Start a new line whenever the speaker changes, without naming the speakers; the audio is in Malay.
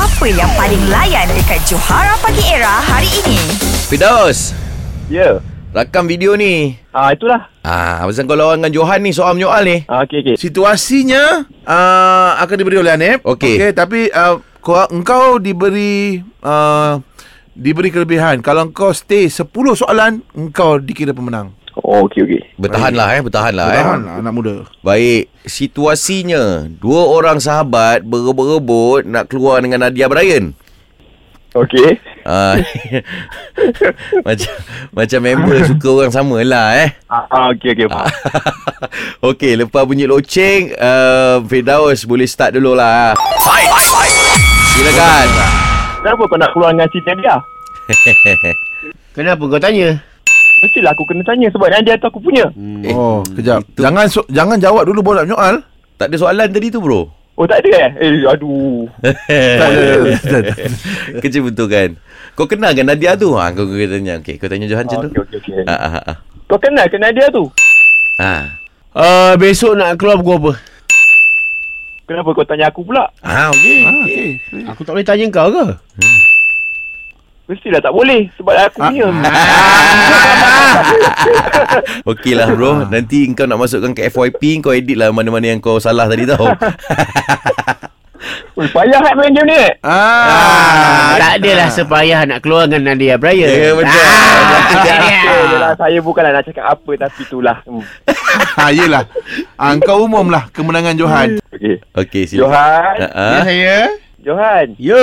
Apa yang paling layan dekat Johara Pagi Era hari ini?
Fidaus,
Ya.
rakam video ni.
Ah itulah.
Ah, pasal kau lawan dengan Johan ni soal menyoal ni.
Ah okey okey.
Situasinya uh, akan diberi oleh Anep.
Okey.
Okay, tapi uh, kau, engkau diberi uh, diberi kelebihan. Kalau engkau stay 10 soalan, engkau dikira pemenang.
Oh okey okey.
Bertahanlah eh, bertahanlah,
Bertahan
eh.
lah anak muda.
Baik, situasinya dua orang sahabat berebut-rebut nak keluar dengan Nadia Bryan.
Okey.
Ah, macam macam member suka orang sama lah eh.
Ah, ah okey okey. Ah.
Okey, lepas bunyi loceng, uh, Fidaus boleh start dulu lah. Silakan.
Kenapa kau nak keluar dengan cerita dia?
Kenapa kau tanya?
Mestilah aku kena tanya sebab yang dia tu aku punya.
Eh,
oh, kejap. Jangan so, jangan jawab dulu baru nak menyoal.
tak ada soalan tadi tu bro.
Oh tak ada eh. Eh aduh.
Tak ada. Tak ada.
Kerja betul kan Kau kenal kan Nadia tu ha, Kau kena tanya okay, Kau tanya Johan macam
Ah,
tu
okey okey okey.
ha, ha, ha.
Kau kenal kenal dia tu?
ha.
Uh, besok nak keluar pukul apa?
Kenapa kau tanya aku pula?
ha okay.
Ah, okey.
Aku tak boleh tanya kau ke?
Mestilah tak boleh sebab aku punya.
Ah.
Ah,
Okey lah
Ah.
bro Nanti kau nak masukkan ke FYP Kau edit lah mana-mana yang kau salah tadi tau
Oi payah kan main game ni.
Ah,
Ah, tak adalah sepayah nak keluar dengan Nadia Bryan.
Ya, betul.
Ah, dia dia.
Ah. Yalah, saya bukanlah nak cakap apa tapi itulah. Hmm.
ha, yelah. Ah, engkau umumlah kemenangan Johan.
Okey.
Okey silakan
Johan,
Ha,
Ya,
ha.
saya.
Johan,
Yo.